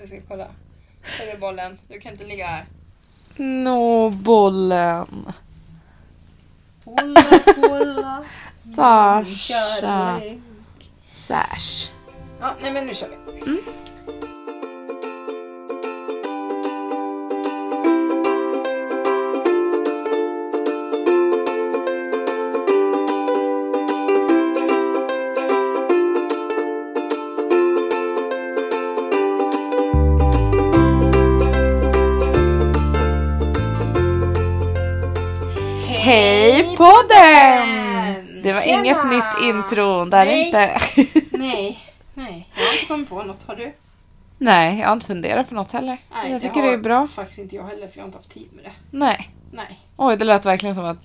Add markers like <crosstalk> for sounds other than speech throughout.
Jag ska kolla. Här är bollen. Du kan inte ligga här. Nå, bollen. Kolla, kolla. Sasha. Sash. Ja, nej men nu kör vi. Mm. Hej podden! podden! Det var Tjena! inget nytt intro. Det här är Nej. inte... <laughs> Nej, nej. Jag har inte kommit på något. Har du? Nej, jag har inte funderat på något heller. Nej, jag tycker har det är bra. faktiskt inte jag heller för jag har inte haft tid med det. Nej. Nej. Oj, det lät verkligen som att...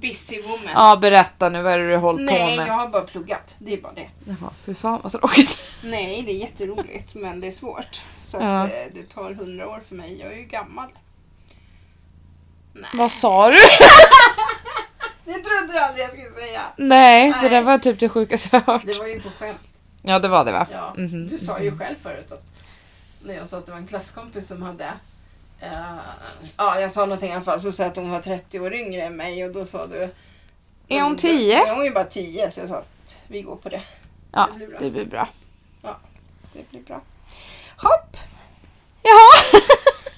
Busy woman. Ja, berätta nu. Vad är det du håller på nej, med? jag har bara pluggat. Det är bara det. Jaha, fy fan vad tråkigt. Nej, det är jätteroligt men det är svårt. Så att, Ja. eh, det tar hundra år för mig. Jag är ju gammal. Vad sa du? Det trodde du aldrig jag skulle säga. Nej, det Nej. där var typ det sjukaste jag hört. Det var ju på skämt. Ja, det var det va? Ja. Mhm. Du sa ju själv förut att när jag sa att det var en klasskompis som hade eh, ja, jag sa någonting i alla fall så sa jag att hon var 30 år yngre än mig och då sa du... Är hon Men- 10? Ja, Hon är ju bara 10 så jag sa att vi går på det. Ja, det blir bra. det blir bra. Det blir bra. Hopp! Jaha!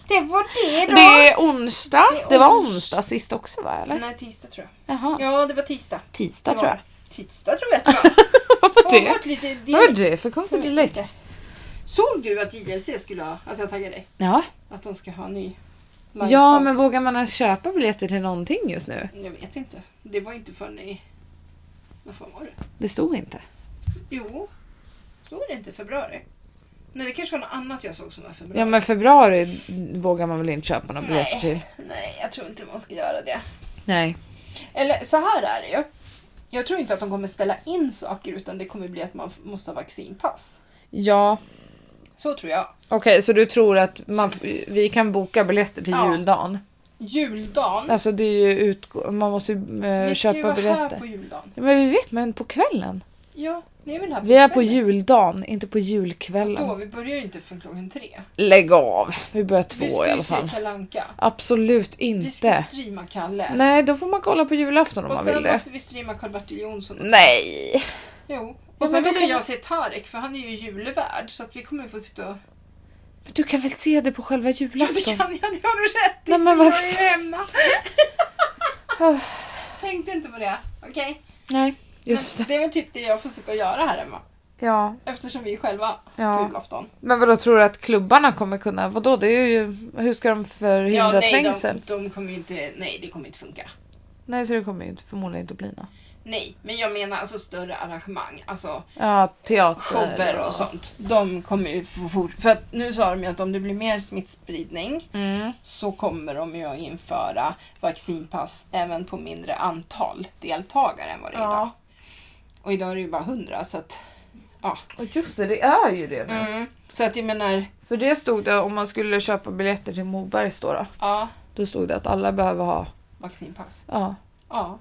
Det var det då! Det är onsdag. Det är Det var ons- onsdag sist också va? Eller? Nej, tisdag tror Jaha. jag. Ja, det var tisdag. Tisdag Det tror var jag. <laughs> Tisdag tror jag att det var. Varför Har hon det? hört lite Vad var dialekt? det för konstig dialekt? Såg du att JLC skulle ha, att jag taggade dig? Ja. Att de ska ha en ny ja, men vågar man ens köpa biljetter till någonting just nu? Jag vet inte. Det var inte förrän i... När fan var det? Det stod inte. Jo. Stod det inte i februari? Nej, det kanske var något annat jag såg som var i februari. Ja, men februari vågar man väl inte köpa några biljetter till? Nej, nej, jag tror inte man ska göra det. Nej. Eller så här är det ju. Jag tror inte att de kommer ställa in saker utan det kommer bli att man f- måste ha vaccinpass. Ja, Så tror jag. okej, så du tror att man, f- vi kan boka biljetter till Ja. Mm. juldagen? Juldagen. Alltså det är ju utgå- man måste ju eh, vi ska ju köpa vara biljetter. här på juldagen. Ja, Men vi vet, men på kvällen. Ja, ni är väl här på Vi är på kvällen? juldagen, inte på Då, julkvällen. vi börjar ju inte förrän klockan tre. Lägg av! Vi börjar vi två ska i ju alla se fall. Kalle Anka. Absolut Vi ska inte. streama Kalle. Nej, då får man kolla på julafton om och man sen vill det. måste vi streama Karl-Bertil Jonsson. Nej! Jo. men Och sen då vill ju kan vi- jag se Tarek för han är ju julevärd så att vi kommer få sitta och... Men du kan väl se det på själva Ja det julafton? kan jag, det har du rätt i Nej, men för vad jag är ju <laughs> hemma. Öh, Tänkte inte på det. Okej. Nej, Men just det. det är väl typ det jag får sitta och göra här hemma. Ja, Eftersom vi är själva på ja. julafton. Men vadå, tror du att klubbarna kommer kunna? Vadå, det är ju... Hur ska de förhindra nej, trängsel? de, de kommer ju inte... Nej, det kommer inte funka. Nej, så det kommer ju förmodligen inte bli något. Nej, men jag menar alltså större arrangemang. Alltså Ja, teater shower och sånt. De kommer ju få fort... För att nu sa de ju att om det blir mer smittspridning Mm. så kommer de ju att införa vaccinpass även på mindre antal deltagare än vad det är idag. Ja. Och idag är det ju bara 100 så att... Och just det, det är ju det nu. Mm. Så att jag menar... För det stod det om man skulle köpa biljetter till Mobergs då, då. Ja, Då stod det att alla behöver ha. vaccinpass. Ja. Ja.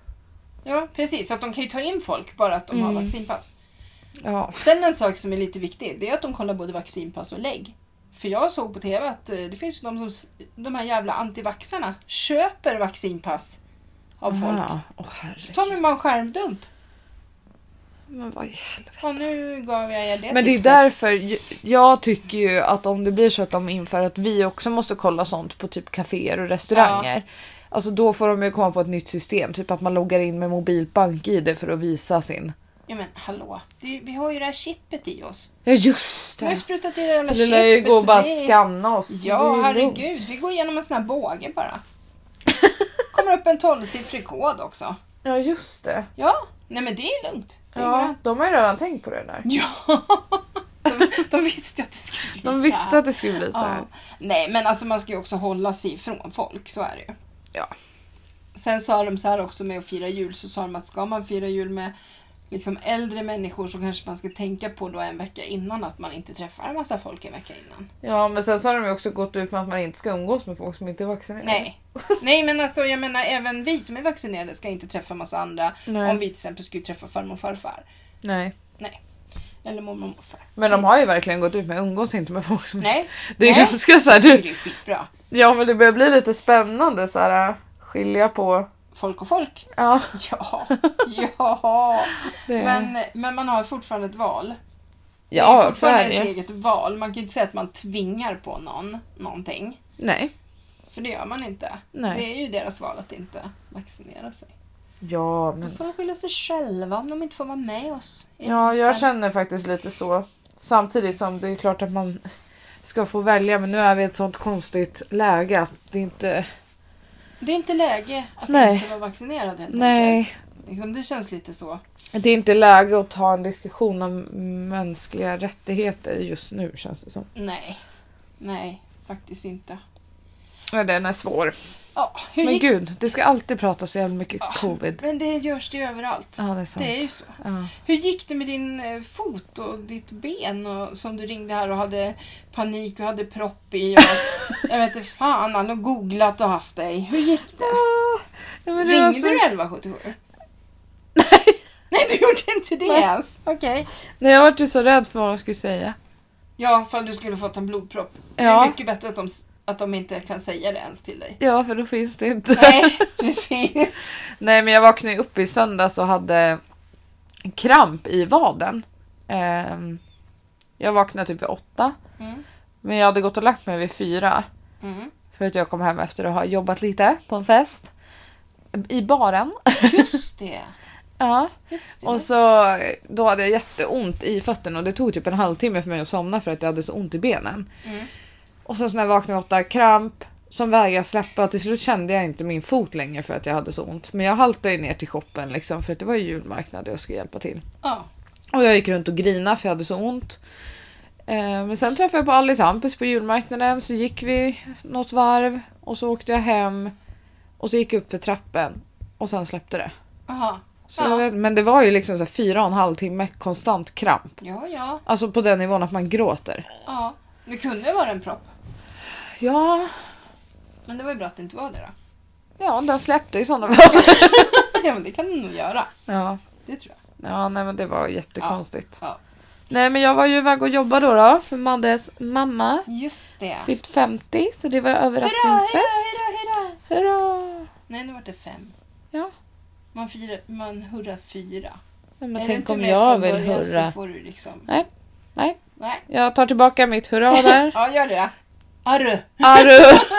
Ja, precis. Så att de kan ju ta in folk bara att de Mm. har vaccinpass. ja. Sen en sak som är lite viktig, det är att de kollar både vaccinpass och lägg. För jag såg på TV att eh, det finns ju de som, s- de här jävla antivaxarna köper vaccinpass Ah. av folk. Aha. Åh Så herregud. tar man bara en skärmdump. Men vad i helvete. Och nu gav jag er det Men det är tipset. därför ju- jag tycker ju att om det blir så att de inför att vi också måste kolla sånt på typ kaféer och restauranger. Alltså då får de ju komma på ett nytt system, typ att man loggar in med mobilt bank-id för att visa sin. Ja men hallå, det, är- vi har ju det här chippet i oss. Ja just Vi har det! ju sprutat i det jävla Så det lär ju chippet. gå och bara det är- skanna oss. Det är Ja, ju lugnt. herregud. Vi går igenom en sån här båge <laughs> bara. Kommer upp en tolvsiffrig kod också. Ja just det. Ja, nej men det är lugnt. Det går Ja, an. de har ju redan tänkt på det där. <laughs> ja. De, de visste ju att det skulle bli De visste att att det skulle bli så här. ja. Nej men alltså man ska ju också hålla sig ifrån folk, så är det ju. Ja. Sen sa de så här också med att fira jul, så sa de att ska man fira jul med liksom äldre människor så kanske man ska tänka på då en vecka innan att man inte träffar en massa folk en vecka innan. Ja men sen så har de ju också gått ut med att man inte ska umgås med folk som inte är vaccinerade. Nej. Nej men alltså jag menar även vi som är vaccinerade ska inte träffa en massa andra Nej. om vi till exempel skulle träffa farmor och farfar. Nej. Nej. Eller mormor och morfar. Men de har ju verkligen gått ut med umgås inte med folk som... Nej, det är nej. ganska så här, jag tycker du, det är skitbra. Ja men det börjar bli lite spännande så här äh, skilja på... Folk och folk. <laughs> Ja. Ja, ja. <laughs> Det... Men, men man har fortfarande ett val. det är ja så fortfarande är det ens ju. eget val. Man kan inte säga att man tvingar på någon någonting. Nej. För det gör man inte. Nej. Det är ju deras val att inte vaccinera sig. Ja Då men... får de skylla sig själva om de inte får vara med oss. i Ja jag eliten. känner faktiskt lite så. Samtidigt som det är klart att man ska få välja men nu är vi i ett sånt konstigt läge att det inte... Det är inte läge att Nej. inte vara vaccinerad helt enkelt. Nej. Liksom, det känns lite så. Det är inte läge att ta en diskussion om mänskliga rättigheter just nu känns det som. Nej. Nej, faktiskt inte. Ja, den är svår. Ja, hur Men gick gud, det ska alltid prata så jävla mycket Ja, covid. Men det görs det ju överallt. Ja, det är sant. det är ju så. Ja. Hur gick det med din eh, fot och ditt ben och, som du ringde här och hade panik och hade propp i? <laughs> Och, jag vet inte fan, han har googlat och haft dig. Hur gick det? Ja, men det var Ringde så- du 1177? Nej. <laughs> Nej, du gjorde inte det Nej. ens? Okej. Nej, jag var ju så rädd för vad de skulle säga. Ja, ifall du skulle fått en blodpropp. Det är Ja. mycket bättre att de, s- att de inte kan säga det ens till <laughs> dig. Ja, för då finns det inte. <laughs> Nej, precis. Nej, men jag vaknade ju upp i söndags och hade kramp i vaden. Ehm, jag vaknade typ vid åtta, Mm. men jag hade gått och lagt mig vid fyra Mm. för att jag kom hem efter att ha jobbat lite på en fest i baren. Just det. Ja. Just det. Och så då hade jag jätteont i fötterna och det tog typ en halvtimme för mig att somna för att jag hade så ont i benen. Mm. Och sen så när jag vaknade åtta, kramp som vägrade släppa. Till slut kände jag inte min fot längre för att jag hade så ont. Men jag haltade ju ner till shoppen liksom för att det var ju julmarknad och jag skulle hjälpa till. Ja. Och jag gick runt och grinade för jag hade så ont. Eh, Men sen träffade jag på Alice Hampus på julmarknaden så gick vi något varv och så åkte jag hem och så gick jag upp för trappen och sen släppte det. Aha. Så Ja. jag vet, men det var ju liksom så här fyra och en halv timme konstant kramp. Ja, ja. Alltså på den nivån att man gråter. Ja. Det kunde ju vara en propp. Ja, Men det var ju bra att det inte var det då. ja den släppte i sådana fall. <laughs> Ja, men det kan du nog göra. <laughs> Ja. Det tror jag. ja, nej men det var jättekonstigt. Ja. Nej men jag var ju iväg och jobbade då, då för Maddes mamma Just det. fyllt 50 så det var överraskningsfest. hurra, hurra! Hurra! Nej, nu vart det fem. Ja. Man, firar, man hurrar fyra. Nej, men Är du tänk inte om med jag från vill början hurra. Så får du liksom... Nej, nej. Nej. Jag tar tillbaka mitt <laughs> hurra där. Ja, gör det. Arru. Aru! <laughs>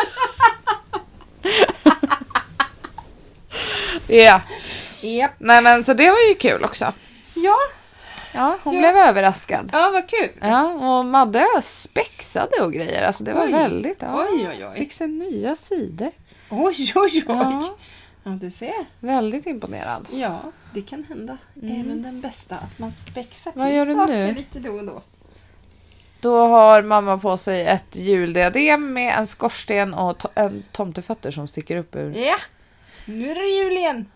Ja, Yep. nej men så det var ju kul också. Ja. Ja, hon Ja. blev överraskad. ja, vad kul. Ja, och Madde spexade och grejer. Alltså det var Oj. väldigt... Ja. Oj, oj, oj. Fick sig nya sidor. Oj, oj, oj. Ja. Ja. du ser. Väldigt imponerad. Ja, det kan hända. Även den bästa. Att man spexar Mm. Vad gör du saker nu? lite då och då. Då har mamma på sig ett juldiadem med en skorsten och to- en tomtefötter som sticker upp ur. Ja. Nu är det jul igen.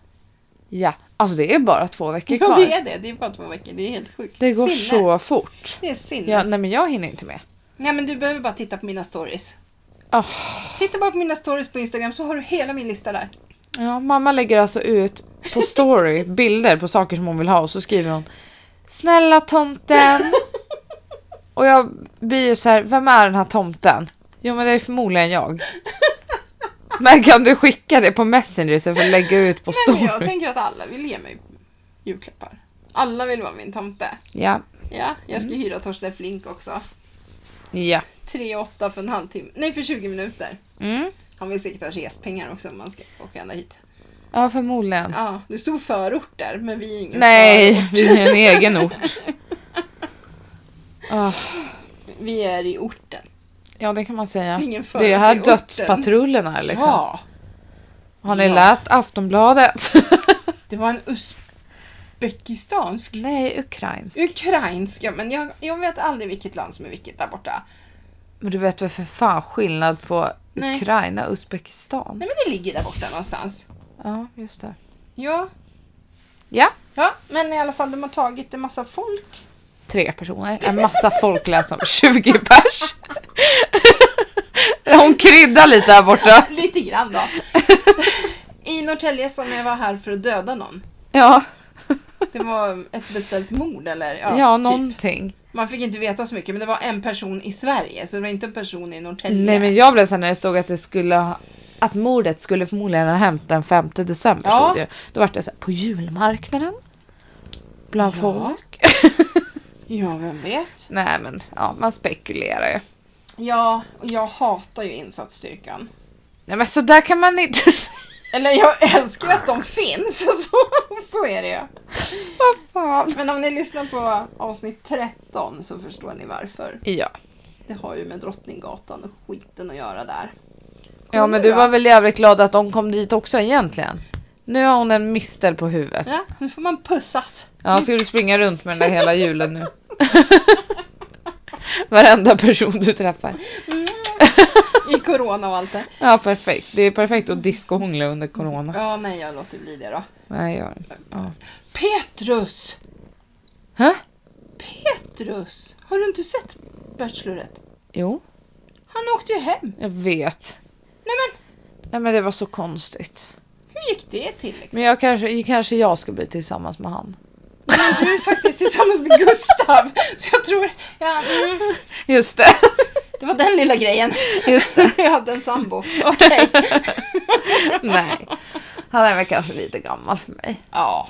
Ja, alltså det är bara två veckor Ja, kvar. det är det. Det är bara två veckor. Det är helt sjukt. Det går Sinnes. så fort. Det är sinnes. Ja, nej men jag hinner inte med. Nej men du behöver bara titta på mina stories. Ah. Titta bara på mina stories på Instagram så har du hela min lista där. Ja, mamma lägger alltså ut <laughs> på story bilder på saker som hon vill ha och så skriver hon <laughs> Snälla tomten. Och jag blir ju så här, vem är den här tomten? Jo men det är <laughs> förmodligen jag. Men kan du skicka det på Messenger istället för att lägga ut på Nej, men jag story? tänker att alla vill ge mig julklappar. Alla vill vara min tomte. Ja, Ja, jag Mm. ska hyra Torsten Flink också. ja. 3,8 för en halvtimme. Nej, för 20 minuter. Mm. Han vill säkert ha respengar också om man ska åka ända hit. Ja, förmodligen. Ja, det stod förort där, men vi är ju ingen förort. Mm. <laughs> Nej, vi är en egen <laughs> ort. Ah, Vi är i orten. ja, det kan man säga. Det är ingen Det är förort, ju här det är orten. dödspatrullen är liksom. Ja, Har ni Ja. läst Aftonbladet? det var en uzbekistansk Nej, ukrainsk. Ukrainska, men jag, jag vet aldrig vilket land som är vilket där borta. Men du vet väl för fan skillnad på Nej. Ukraina och Uzbekistan? Nej men det ligger där borta någonstans. Ja, just det. Ja. Ja, Ja, men i alla fall de har tagit en massa folk. <laughs> tre personer. En massa folk lät som 20 pers. Hon kryddar lite här borta. Lite grann <laughs> då. I Norrtälje som jag var här för att döda någon. Ja, Det var ett beställt mord eller? Ja, typ. någonting. Man fick inte veta så mycket, men det var en person i Sverige, så det var inte en person i Norrtälje. Nej men jag blev såhär när det stod att det skulle ha- att mordet skulle förmodligen ha hänt den 5 december. Ja. Stod det. ju. Då var det såhär på julmarknaden. Bland Ja. folk. <laughs> Ja, vem vet? Nej men ja, man spekulerar ju. Ja, och jag hatar ju insatsstyrkan. Nej men så där kan man inte <laughs> säga. Eller jag älskar ju att de finns, <laughs> så, så är det ju. Vad fan. Men om ni lyssnar på avsnitt 13 så förstår ni varför. Ja. Det har ju med Drottninggatan och skiten att göra där. ja men du var väl jävligt glad att de kom dit också egentligen. Nu har hon en mistel på huvudet. Ja, nu får man pussas. Ja, ska du springa runt med den där hela <laughs> julen nu? Varenda person du träffar. <laughs> I corona och allt det. Ja, perfekt. Det är perfekt att discohångla under corona. Ja, nej, jag låter bli det då. Nej, jag... Ja. Petrus! Hä? Petrus! Har du inte sett Bachelorette? Jo, Han åkte ju hem. jag vet. Nej men, Nej, men det var så konstigt. hur gick det till liksom? Men jag kanske, kanske jag ska bli tillsammans med han. Men du är faktiskt tillsammans med Gustav! Så jag tror... Ja, mm, Just det. <laughs> det var den lilla grejen. Just <laughs> Jag hade en sambo. Okej. Nej. Han är väl kanske lite gammal för mig. Ja.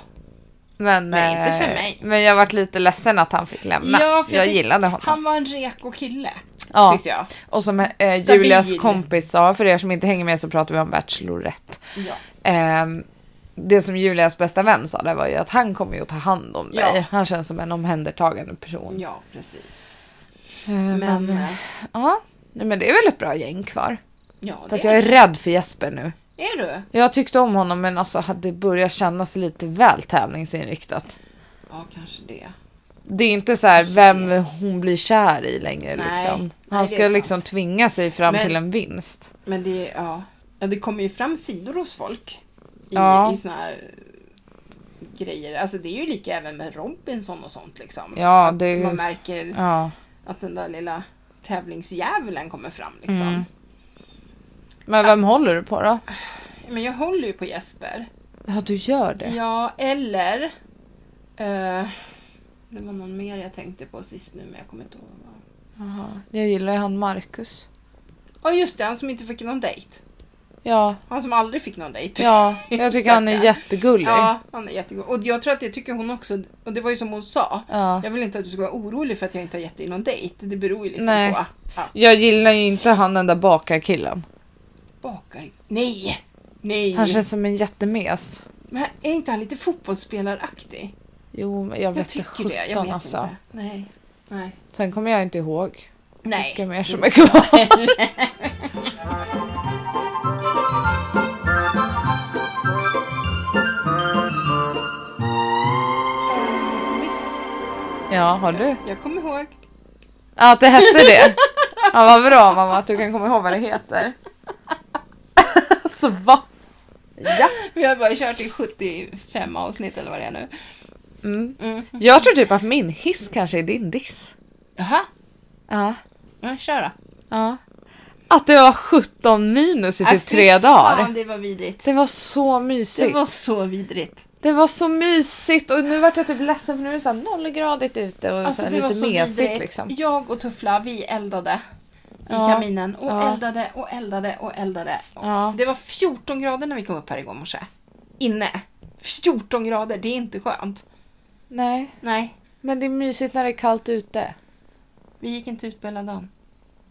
Men, Nej, inte för eh, mig. Men jag varit lite ledsen att han fick lämna. Ja, för jag jag tyck- gillade honom. Han var en reko kille, ja. tyckte jag. Och som eh, Stabil. Julias kompis sa, för er som inte hänger med så pratar vi om Bachelorette. Ja. Ehm, det som Julias bästa vän sa där var ju att han kommer ju att ta hand om dig. Ja. Han känns som en omhändertagande person. Ja, precis. Ehm, Men, men eh, ja, Nej, men det är väl ett bra gäng kvar. ja, det Fast jag är rädd för Jesper nu. är du. Jag tyckte om honom men alltså det börjar kännas lite väl tävlingsinriktat. Ja, kanske det. Det är inte så här Kanske vem hon blir kär i längre Nej. liksom. Nej, Han det ska är liksom sant. tvinga sig fram Men- till en vinst. Men det, ja. Ja, det kommer ju fram sidor hos folk i, Ja. i såna här eh, grejer. Alltså det är ju lika även med Robinson och sånt liksom. Ja, det är Man ju... märker Ja. att den där lilla tävlingsdjävulen kommer fram liksom. Mm. Men vem håller du på då? Men jag håller ju på Jesper. Ja, du gör det. Ja, eller... eh, det var någon mer jag tänkte på sist nu, men jag kommer inte ihåg. vad det var. Jaha. Jag gillar ju han Marcus. Ja, just det. Han som inte fick någon dejt. Ja, Han som aldrig fick någon dejt. ja jag tycker han är Stackarn. jättegullig. Ja. Ja, han är jättegod. Och jag tror att det tycker hon också. Och det var ju som hon sa. Jag vill inte att du ska vara orolig för att jag inte har gett dig någon dejt. Det beror ju liksom Nej. på... Ja, Jag gillar ju inte han den där bakarkillen. Mm. bakar... Nej! Nej! Han känns som en jättemes. Men är inte han lite fotbollsspelaraktig? Jo, men jag Jag, vet tycker det. Jag vet alltså. inte. Nej. Nej. Sen kommer jag inte ihåg Nej. Mm. vilka mer som är kvar. <laughs> Ja, har du? Jag kommer ihåg. Ja, att det hette det. Ja, vad bra mamma att du kan komma ihåg vad det heter. Så Alltså, va? Ja. Vi har bara kört i 75 avsnitt eller vad det är nu. Mm. Mm. Jag tror typ att min hiss kanske är din diss. Jaha, Ja. ja, kör då. ja. Att det var 17 minus i Nej, typ Äh, fy tre dagar. Fan, det var vidrigt. Det var så mysigt. Det var så vidrigt. så mysigt och nu vart jag typ ledsen för nu är det så här nollgradigt ute och Alltså, Alltså, så här lite mesigt liksom. Jag och Tuffla, vi eldade i Ja. kaminen och Ja. eldade och eldade och eldade. Ja. Det var 14 grader när vi kom upp här igår morse. Inne. 14 grader, det är inte skönt. Nej, Nej, men det är mysigt när det är kallt ute. vi gick inte ut på hela dagen.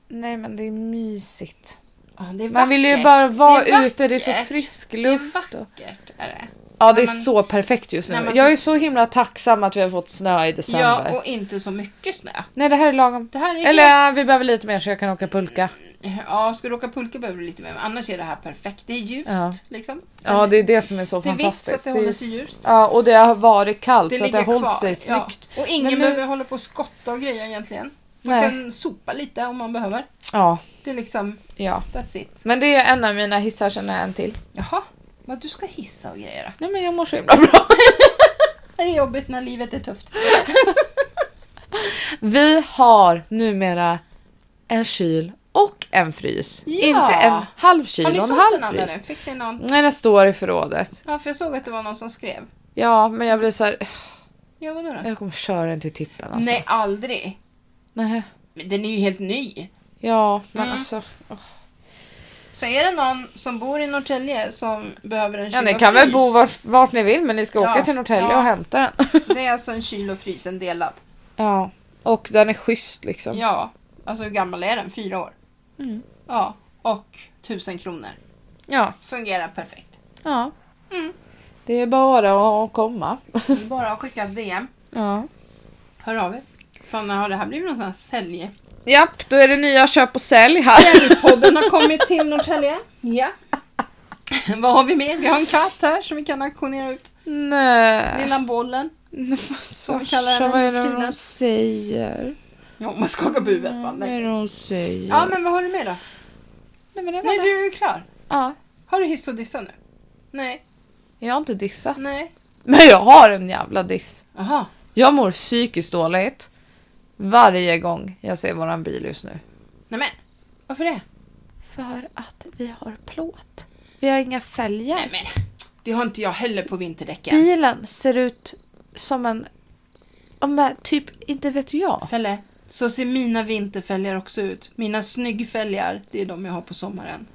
Nej, men det är mysigt. Ja, det är Man vill ju vackert. bara vara Det är ute, det är så vackert. frisk Det är luft. Och... vackert, är det. Ja, det är När man- så perfekt just när nu. man- typ- Jag är så himla tacksam att vi har fått snö i december. Ja, och inte så mycket snö. Nej, det här är lagom. Det här är Eller vi behöver lite mer så jag kan åka pulka. Ja, ska du åka pulka behöver du lite mer, men annars är det här perfekt. Det är ljust Ja. liksom. Ja, det är det som är så det är vitt så fantastiskt. att det är- håller sig ljust. Ja, och det har varit kallt så att ligger det har hållit kvar, sig snyggt. Ja. Och ingen Men nu- behöver hålla på och skotta och grejer egentligen. Man Nej. kan sopa lite om man behöver. Ja, Det är liksom, ja. that's it. Men det är en av mina hissar, sen är en till. Jaha, vad du ska hissa och grejer då. Nej men jag mår så himla bra. <laughs> Det är jobbigt när livet är tufft. Vi har numera en kyl och en frys. Ja. Inte en halv kyl Har och ni en sålt den halv andra frys. nu? Fick ni någon? Nej, den står i förrådet. Ja, för jag såg att det var någon som skrev. Ja, men jag blir så här. Ja, vadå då? Jag kommer köra den till tippen alltså. Nej, aldrig. Nej. Men Den är ju helt ny. Ja, men Mm. alltså. Så är det någon som bor i Norrtälje som behöver en kyl Ja, ni och kan väl frys, bo vart, vart ni vill men ni ska Ja, åka till Norrtälje ja. och hämta den. <laughs> Det är alltså en kyl och frys, en delad. ja. Och den är schysst liksom. Ja, alltså hur gammal är den? Fyra år? Mm. Ja, och tusen kronor. Ja. Fungerar perfekt. ja. Mm. Det är bara att <laughs> komma. Det är bara att skicka DM. Ja. Hör av er. Fan, har det här blivit någon sån här sälje? Japp, då är det nya köp och sälj här. Podden har kommit till Norrtälje. Ja. <laughs> Vad har vi mer? Vi har en katt här som vi kan auktionera ut. <laughs> Nej. Lilla bollen. <laughs> Som vi kallar Sasha, henne vad är för det tiden. hon säger? Ja, man skakar på huvudet bara. Vad Nej. är det hon säger? Ja, men vad har du med då? Nej, men det var Nej, det. du är ju klar. Ja. Har du hiss och dissa nu? Nej, Jag har inte dissat. nej. <laughs> Men jag har en jävla diss. Aha. Jag mår psykiskt dåligt varje gång jag ser våran bil just nu. Nej men, varför det? För att vi har plåt. Vi har inga fälgar. men. Det har inte jag heller på vinterdäcken. Bilen ser ut som en... ja, men typ, inte vet jag. Fälle, så ser mina vinterfälgar också ut. Mina snyggfälgar, det är de jag har på sommaren.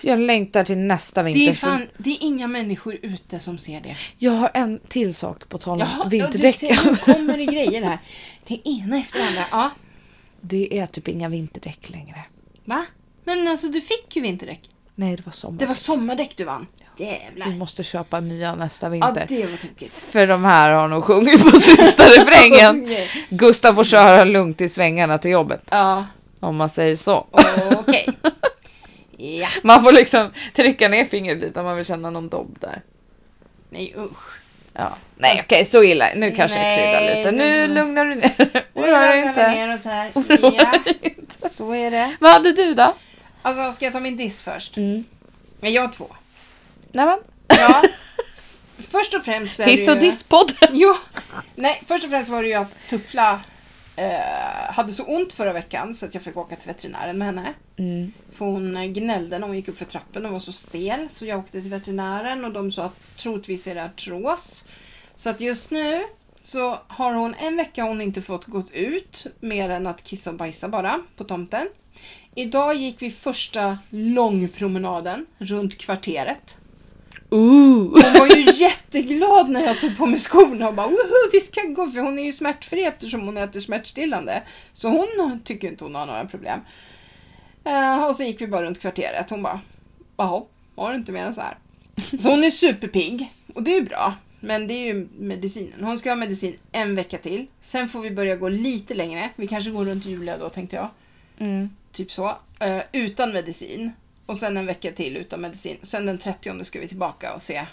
Jag längtar till nästa vinter. Det är, för fan, det är inga människor ute som ser det. Jag har en till sak på tal om Jaha, ja, du vinterdäck. ser, nu kommer det grejer här. Det ena efter det andra. Ja, <laughs> Det är typ inga vinterdäck längre. va? Men alltså du fick ju vinterdäck. Nej, det var sommar. Det var sommardäck du vann. Vi Jävlar. måste köpa nya nästa Ja, vinter. det var tokigt. För de här har nog sjungit på <laughs> sista refrängen. Gustav får köra lugnt i svängarna till jobbet. <laughs> Ja, Om man säger så. okej. Ja. Man får liksom trycka ner fingret lite om man vill känna någon dobb där. Nej usch. Ja. Nej okej, så illa. Nu kanske jag kryddar lite. Nej, Nu nu- lugnar du ner Nu Oroa dig ramlar vi inte. ner oss <laughs> här. Oroa Ja, dig inte. så är det. Vad hade du då? Alltså ska jag ta min diss först? Mm. Nej, jag har två. Nej, men. Ja. först och främst så är Hiss det och ju... disspodd. <laughs> Jo. Nej, först och främst var det ju att Tuffla eh, hade så ont förra veckan så att jag fick åka till veterinären med henne. Mm. För hon eh, gnällde när hon gick upp för trappen och var så stel så jag åkte till veterinären och de sa att troligtvis är det artros. Så att just nu så har hon en vecka hon inte fått gått ut mer än att kissa och bajsa bara på tomten. Idag gick vi första långpromenaden runt kvarteret. Ooh. Hon var ju jätteglad när jag tog på mig skorna och bara Woho, vi ska gå för hon är ju smärtfri eftersom hon äter smärtstillande. Så hon tycker inte hon har några problem. Eh, och så gick vi bara runt kvarteret. Hon bara Jaha, var det inte mer än så här? Så hon är superpigg och det är ju bra. Men det är ju medicinen. Hon ska ha medicin en vecka till. Sen får vi börja gå lite längre. Vi kanske går runt Julia då tänkte jag. Mm. Typ så. Eh, utan medicin. Och sen en vecka till utan medicin. Sen den 30 ska vi tillbaka och se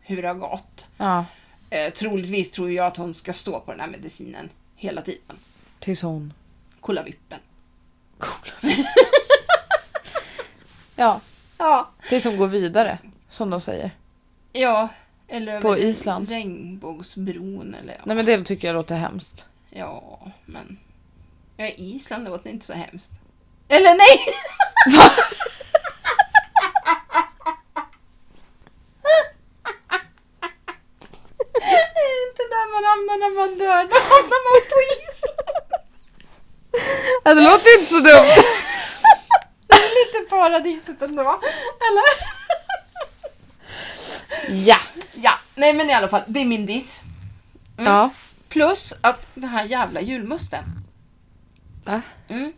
hur det har gått. Ja, Eh, troligtvis tror jag att hon ska stå på den här medicinen hela tiden. tills hon. Kolla vippen. <laughs> Ja, Ja. tills hon går vidare. Som de säger. Ja. Eller På över Island. Regnbågsbron eller ja. Nej men det tycker jag låter hemskt. Ja, men... Ja, Island det låter inte så hemskt. Eller nej! Det är inte där man hamnar när man dör. Då hamnar man på Island. Ja, det låter inte så dumt. Det är lite paradiset ändå. Eller? <laughs> Ja. Ja, nej men i alla fall, det är min diss. Mm. Ja. Plus att den här jävla julmusten. Va? Mm.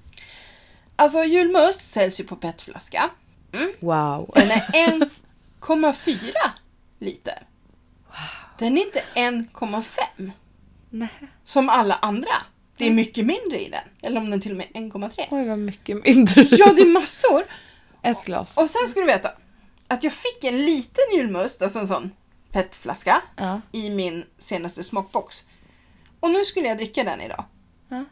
Alltså julmust säljs ju på petflaska. Mm. Wow. Den är 1,4 liter. Den är inte 1,5 <laughs> Nej. som alla andra. Det Mm. är mycket mindre i den. Eller om den till och med är 1,3. Oj vad mycket mindre. Ja, det är massor. Ett glas. Och sen ska du veta att jag fick en liten julmust, alltså en sån petflaska, Ja. i min senaste smakbox. Och nu skulle jag dricka den idag. Ja.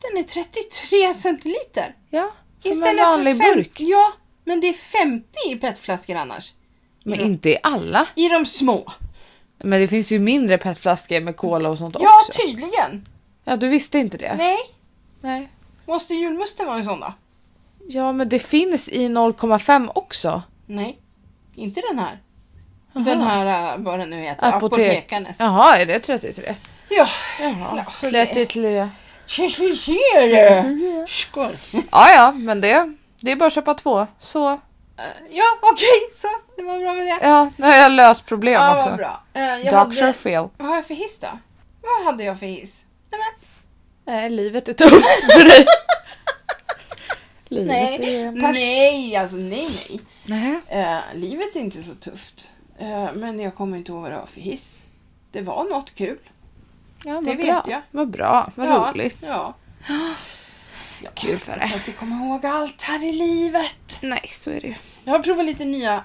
Den är 33 centiliter. ja. Som Istället en vanlig för fem- burk. Ja, men det är 50 i petflaskor annars. Men inte i alla. I de små. Men det finns ju mindre petflaskor med cola och sånt Ja, också. Äh. tydligen. Ja, du visste inte det? Nej, Nej. måste julmusten vara en sån då? Ja, men det finns i 0,5 också. Nej, inte den här. Jaha. Den här, äh, vad den nu heter, Apotek. apotekarnes. Jaha, är det 33? Ja, Jaha, Ja, så det- lät det till det. tjejtjejtjejare. Skål. <laughs> Ja, ja, men det, det är bara att köpa två. Så, Ja, okej, så det var bra med det. ja, nu har jag löst problem Ja, vad också. bra. Eh, Jag Doctor hade, Phil. vad har jag för hiss då? Vad hade jag för hiss? Nej, men, Nej, livet är tufft <laughs> för dig. livet är nej, en pers. nej, alltså nej, nej. Nej. Eh, livet är inte så tufft. Eh, men jag kommer inte ihåg vad det var för hiss. Det var något kul. Ja, vad Det vet bra. jag. Vad bra, vad ja, roligt. Ja. ja. Kul för Jag dig. kan inte komma ihåg allt här i livet. Nej, så är det ju. Jag har provat lite nya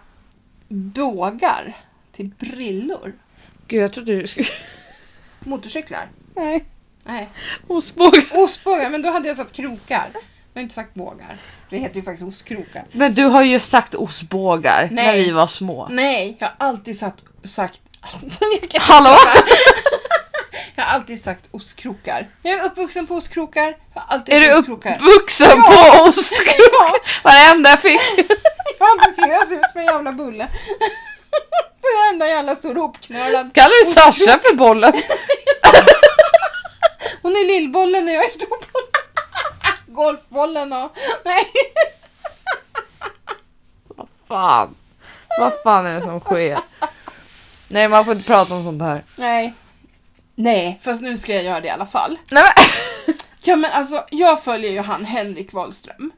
bågar till brillor. Gud, jag trodde du skulle... Motorcyklar. Nej, Nej. ostbågar. Ostbågar, men då hade jag sagt krokar. Jag har inte sagt bågar. Det heter ju faktiskt ostkrokar. Men du har ju sagt ostbågar när Nej. vi var små. Nej, jag har alltid sagt, sagt <laughs> jag, kan, Hallå? jag har alltid sagt ostkrokar. Jag är uppvuxen på ostkrokar. Jag har alltid Är du sagt ostkrokar. uppvuxen på ostkrokar? Varenda jag fick. Jag har inte seriös ut med en jävla bulle. <laughs> Den enda jävla står hopknölad. Kallar du Sasha för bollen? Hon är lillbollen och jag är storbollen. <laughs> Golfbollen och... Nej. Fan. Vad fan är det som sker? Nej, man får inte prata om sånt här. Nej. Nej, fast nu ska jag göra det i alla fall. Nej, <laughs> men... Ja men alltså, jag följer ju han Henrik Wahlström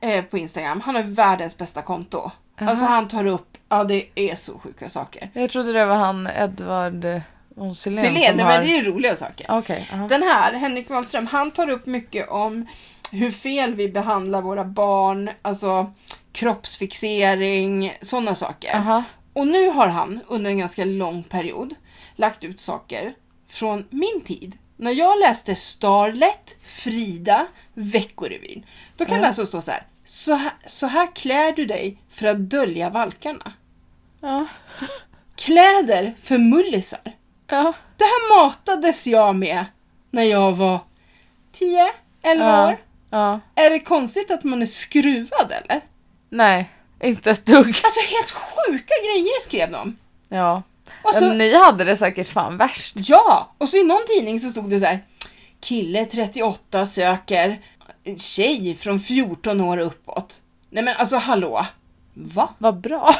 eh, på Instagram. Han har ju världens bästa konto. Alltså han tar upp, ja det är så sjuka saker. Jag trodde det var han Edvard eh, von Sillén Selene, som nej, har... men det är ju roliga saker. Okej. aha. Den här, Henrik Wahlström, han tar upp mycket om hur fel vi behandlar våra barn, alltså kroppsfixering, sådana saker. Aha. Och nu har han under en ganska lång period lagt ut saker från min tid. När jag läste Starlet, Frida, Veckorevyn, då kan det alltså stå så här. Så här, så här klär du dig för att dölja valkarna. Ja. Kläder för mullisar. Ja. Det här matades jag med när jag var 10, 11 Ja. år. ja. Är det konstigt att man är skruvad eller? Nej, inte ett dugg. Alltså helt sjuka grejer skrev de. Ja. Och så- ja ni hade det säkert fan värst. Ja! Och så i någon tidning så stod det så här. Kille 38 söker en tjej från 14 år uppåt. Nej men alltså hallå! Va? Vad bra.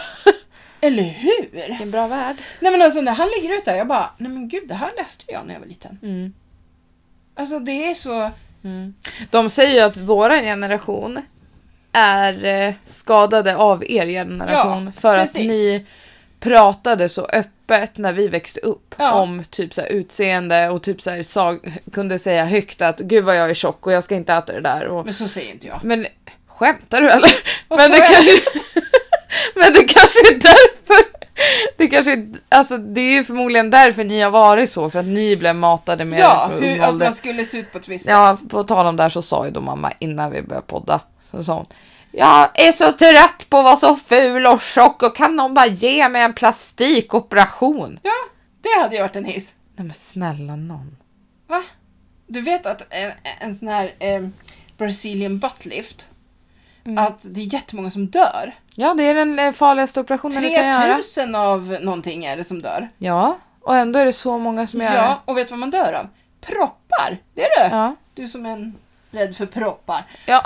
Eller hur? Vilken bra värld. Nej men alltså när han lägger ut det här, jag bara, nej men gud det här läste jag när jag var liten. Mm. Alltså det är så... De säger ju att våran generation är eh, skadade av er generation Ja, för att precis. ni pratade så öppet när vi växte upp Ja. om typ så här utseende och typ så här sag- kunde säga högt att gud vad jag är tjock och jag ska inte äta det där. Och, Men så säger inte jag. men skämtar du eller? <laughs> Vad Men sa det, jag? kanske, <laughs> men det kanske är därför. Det kanske är, alltså det är ju förmodligen därför ni har varit så för att ni blev matade med Ja, det från hur, ung att ålder. man skulle se ut på ett visst sätt. Ja, på tal om det här så sa ju då mamma innan vi började podda. Så sa hon. Jag är så trött på att vara så ful och tjock och kan någon bara ge mig en plastikoperation? Ja, det hade ju varit en hiss. Nej men snälla någon. Va? Du vet att en, en sån här eh, Brazilian butt lift, att det är jättemånga som dör. Ja det är den eh, farligaste operationen du kan göra. 3000 av någonting är det som dör. Ja, och ändå är det så många som gör det. Ja, och vet du vad man dör av? Proppar! Det är du! Ja. Du som är en rädd för proppar. Ja.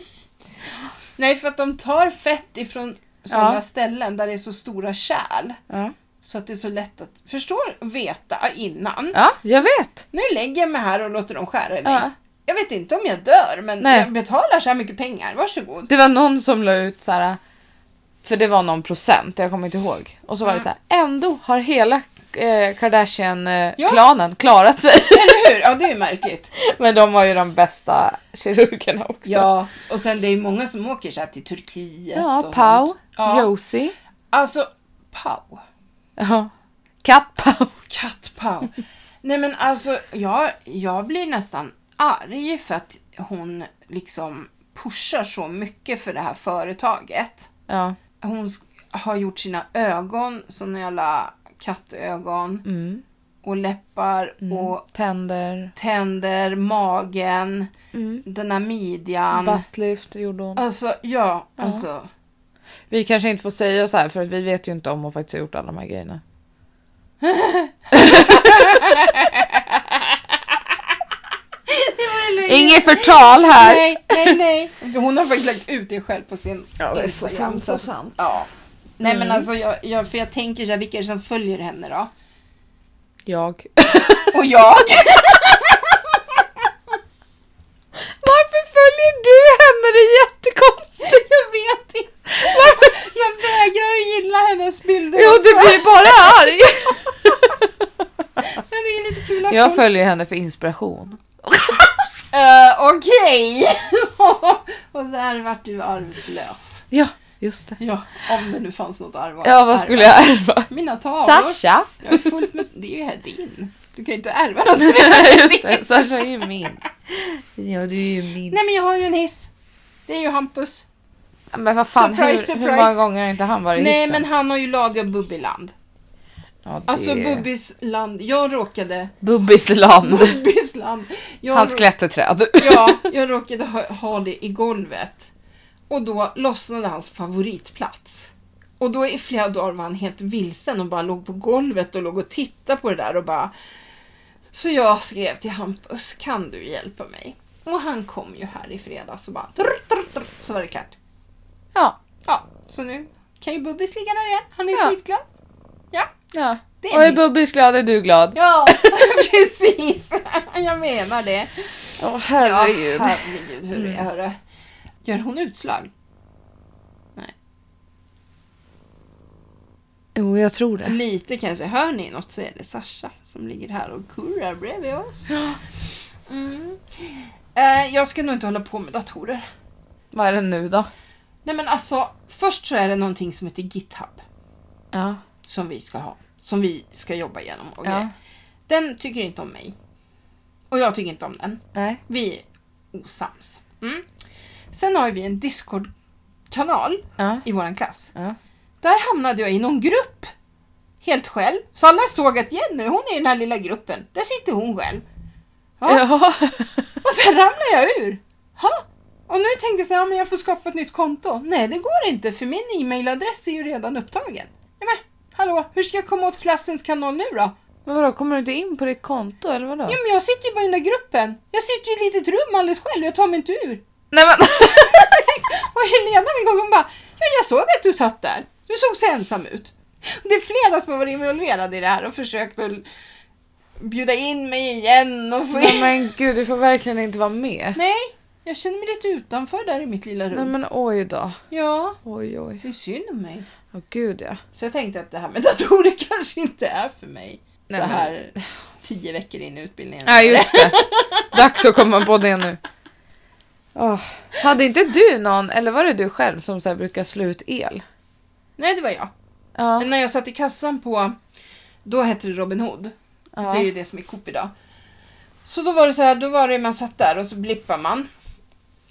<laughs> Nej, för att de tar fett ifrån sådana Ja. ställen där det är så stora kärl. ja. Så att det är så lätt att förstå och veta innan. Ja, jag vet. Nu lägger jag mig här och låter dem skära i mig. Ja. Jag vet inte om jag dör, men Nej. jag betalar så här mycket pengar. Varsågod. Det var någon som la ut så här. För det var någon procent, jag kommer inte ihåg. Och så var det Mm. så här. Ändå har hela eh, Ja. Kardashian-klanen klarat sig. Eller hur? Ja, det är ju <laughs> märkligt. Men de har ju de bästa kirurgerna också. Ja, och sen det är ju många som åker så här till Turkiet. ja och Pau, sånt. Ja. Josie. Alltså, Pau. Ja. Kat Pau. Kattpau. <laughs> Nej men alltså, jag, jag blir nästan arg för att hon liksom pushar så mycket för det här företaget. Ja. Hon sk- har gjort sina ögon, såna jävla kattögon Mm. och läppar och Tänder. tänder, magen, Mm. den här midjan. Buttlift gjorde hon. Alltså, ja, alltså. Vi kanske inte får säga så här för att vi vet ju inte om hon faktiskt har gjort alla de här grejerna. Inget förtal här. Nej, nej, nej. Hon har faktiskt lagt ut det själv på sin Ja, det är så Instagram, sant, så sant. Ja. Nej Mm. men alltså, jag, jag, för jag tänker så här, vilka är det som följer henne då? Jag. Och <laughs> jag? <laughs> Varför följer du henne? Det är jättekonstigt. jag vet inte. Varför? Jag vägrar att gilla hennes bilder <laughs> Jo, du också. blir bara <laughs> arg. Men det är lite kul att Jag hon... följer henne för inspiration. Eh, Okej! <laughs> och där vart du arvslös. Ja, just det. Ja, om det nu fanns något arv att Ja, vad ärva. skulle jag ärva? Mina tavlor. Sasha. Jag är fullt med... Det är ju här din. Du kan ju inte ärva något som är <laughs> Just det, Sasha är ju min. Ja, du är ju min. Nej men jag har ju en hiss. Det är ju Hampus. Men vad fan, Surprise, hur, surprise. hur många gånger har inte han varit i Nej hissen? men han har ju lagat Bubbiland. ja, det... Alltså Bubbis land. Jag <laughs> råkade... Bubbisland. Bubbis land. Jag <laughs> Hans rå- klätterträd. <laughs> Ja, jag råkade ha, ha det i golvet. Och då lossnade hans favoritplats. Och då i flera dagar var han helt vilsen och bara låg på golvet och låg och tittade på det där och bara... Så jag skrev till Hampus, kan du hjälpa mig? Och han kom ju här i fredags och bara... Trr, trr, trr, så var det klart. Ja. Ja, så nu kan ju Bubbis ligga där igen. Han är Ja. skitglad. Ja, ja. det Och är är nice. Bubbis glad är du glad. Ja, <laughs> precis. Jag menar det. Åh Ja, herregud. herregud Mm. hur det är hörru. Gör hon utslag? Jo, jag tror det. Lite kanske. Hör ni något så är det Sasha som ligger här och kurrar bredvid oss. Mm. Eh, jag ska nog inte hålla på med datorer. Vad är det nu då? Nej men alltså, först så är det någonting som heter GitHub Ja. som vi ska ha. Som vi ska jobba igenom och ja. grejer. Den tycker inte om mig. Och jag tycker inte om den. Nej. Vi är osams. Mm. Sen har vi en Discord-kanal Ja. i våran klass. Ja. Där hamnade jag i någon grupp. Helt själv. Så alla såg att Jenny, hon är i den här lilla gruppen. Där sitter hon själv. Ja. <laughs> Ja. Och sen ramlade jag ur. Ha? Och nu tänkte jag så här, ja, men jag får skapa ett nytt konto. Nej, det går inte för min e-mailadress är ju redan upptagen. Ja, men, hallå, hur ska jag komma åt klassens kanal nu då? Men vadå, kommer du inte in på ditt konto eller vadå? Ja, men jag sitter ju bara i den där gruppen. Jag sitter ju i ett litet rum alldeles själv och jag tar mig inte ur. Nej men! <laughs> Och Helena min kompis hon bara, ja, jag såg att du satt där. Du såg så ensam ut. Det är flera som har varit involverade i det här och försökt att bjuda in mig igen och få Nej in... men gud, du får verkligen inte vara med. Nej, jag känner mig lite utanför där i mitt lilla Nej rum. men oj då. Ja, Oj oj. det är synd om mig. Åh gud ja. Så jag tänkte att det här med datorer <laughs> kanske inte är för mig. Nej, så men- här tio veckor in i utbildningen. Nej <laughs> just det. Dags att komma på det nu. Åh. Hade inte du någon, eller var det du själv som så här brukar slå ut el? Nej, det var jag. Ja. Men när jag satt i kassan på, då hette det Robin Hood. ja. Det är ju det som är Coop idag. Så då var det så här, då var det man satt där och så blippar man.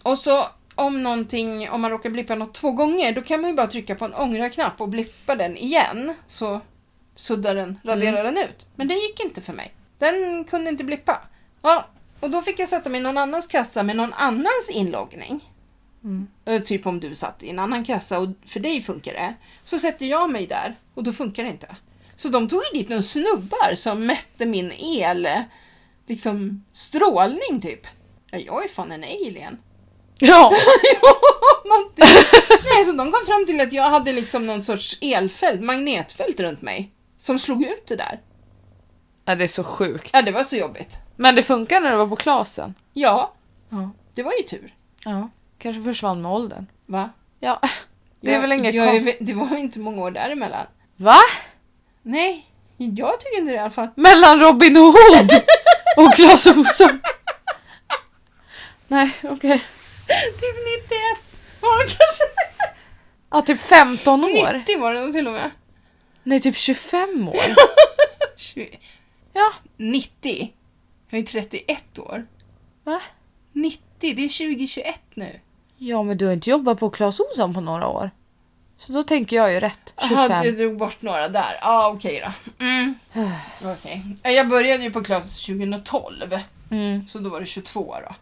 Och så om någonting, om man råkar blippa något två gånger, då kan man ju bara trycka på en ångra-knapp och blippa den igen. Så suddar den, raderar den ut. Men det gick inte för mig. Den kunde inte blippa. Ja, och då fick jag sätta mig i någon annans kassa med någon annans inloggning. Mm. Eh, Typ om du satt i en annan kassa och för dig funkar det. Så sätter jag mig där och då funkar det inte. Så de tog ju dit några snubbar som mätte min el, liksom strålning typ. Ja, jag är fan en alien. <laughs> ja. Ja, någonting. Nej, så de kom fram till att jag hade liksom någon sorts elfält, magnetfält runt mig. Som slog ut det där. Ja, det är så sjukt. Ja, det var så jobbigt. Men det funkar när du var på Klasen. Ja, Ja. det var ju tur. Ja. Kanske försvann med åldern. Va? Ja. Det är Jag- väl inget jag är konstigt. väl- Det var ju inte många år däremellan. Va? Nej, jag tycker inte det i alla fall. Mellan Robin Hood och Clas Ohlson. Nej, okej. Typ 91 var det kanske. Ja, typ 15 <laughs> år. 90 var det nog till och med. Nej, typ 25 år. 20. Ja. 90? Jag är ju 31 år. Va? 90, det är 2021 nu. Ja, men du har inte jobbat på Clas Ohlson på några år. Så då tänker jag ju rätt. 25. Jaha, du drog bort några där. Ja, ah, okej då. Mm. Okej. Eh, Jag började ju på klass 2012, Mm. så då var det 22 år då.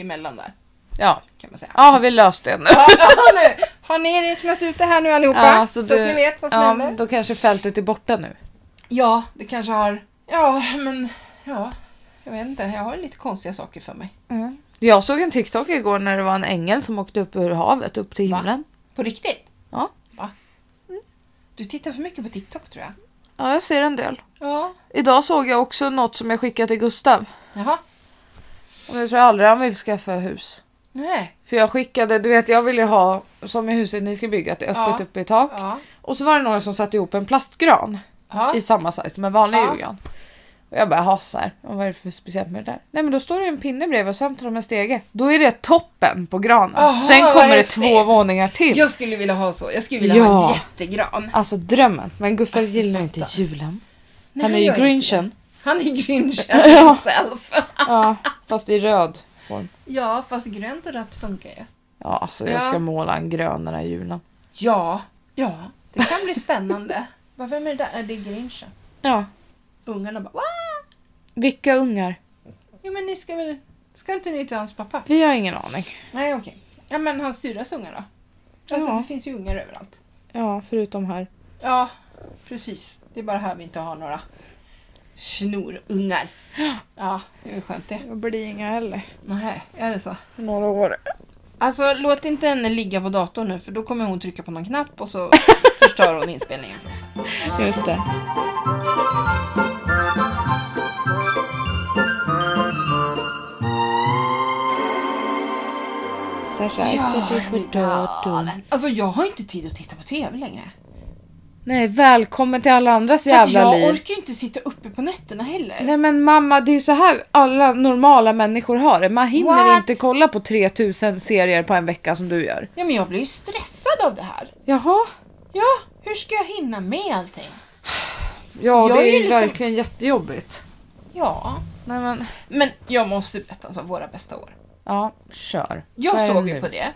Emellan där, Ja. kan man säga. ja, har vi löst det nu? Ja, ja, nu. Har ni räknat ut det här nu allihopa? Ja, så du- att ni vet vad som ja, händer? Då kanske fältet är borta nu. Ja, det kanske har Ja, men ja. Jag vet inte, jag har lite konstiga saker för mig. Jag såg en TikTok igår när det var en ängel som åkte upp ur havet upp till Va? himlen. På riktigt? Ja. Mm. Va? Du tittar för mycket på TikTok tror jag. Ja, jag ser en del. Ja. Idag såg jag också något som jag skickade till Gustav. Jaha. Och nu tror jag aldrig han vill skaffa hus. Nej. För jag skickade, du vet jag vill ju ha som i huset ni ska bygga, att det är öppet Ja. uppe i tak. Ja. Och så var det några som satte ihop en plastgran Ja. i samma size som en vanlig Ja. julgran. Och jag bara, jaha så här, vad är det för speciellt med det där? Nej men då står det en pinne bredvid och sen tar de en stege. Då är det toppen på granen. Aha, sen vad kommer det häftigt. två våningar till. Jag skulle vilja ha så. Jag skulle vilja Ja. ha en jättegran. Alltså drömmen. Men Gustav Alltså, gillar fatta. inte julen. Nej, Han är gör ju inte grinchen. det. Han är <laughs> grinchen Ja. himself. Ja, fast i röd form. Ja, fast grönt och rött funkar ju. Ja, alltså jag Ja. ska måla en grön den här julen. Ja. Ja. Det kan bli spännande. Vad- Vem är det där? Är det är grinchen? Ja, Ungarna bara Wah! vilka ungar? Jo men ni ska väl... Ska inte ni till hans pappa? Vi har ingen aning. Nej okej. Ja men hans syrras ungar då? Alltså Ja. det finns ju ungar överallt. Ja, förutom här. Ja, precis. Det är bara här vi inte har några snorungar. Ja, det är skönt det. Jag blir inga heller. Nej, är det så? Några år. Alltså låt inte henne ligga på datorn nu för då kommer hon trycka på någon knapp och så förstör hon inspelningen för oss. Just det. Sasha, kanske för datum. Alltså jag har inte tid att titta på TV längre. Nej, välkommen till alla andras För att jävla jag liv. orkar ju inte sitta uppe på nätterna heller. Nej men mamma, det är ju så här alla normala människor har det. Man hinner What? inte kolla på 3000 serier på en vecka som du gör. Ja men jag blir ju stressad av det här. Jaha? Ja, hur ska jag hinna med allting? Jag Ja, det är är ju ju liksom- verkligen jättejobbigt. Ja. Nej men, Men jag måste berätta alltså våra bästa år. ja, kör. Vad är Jag det såg nu? ju på det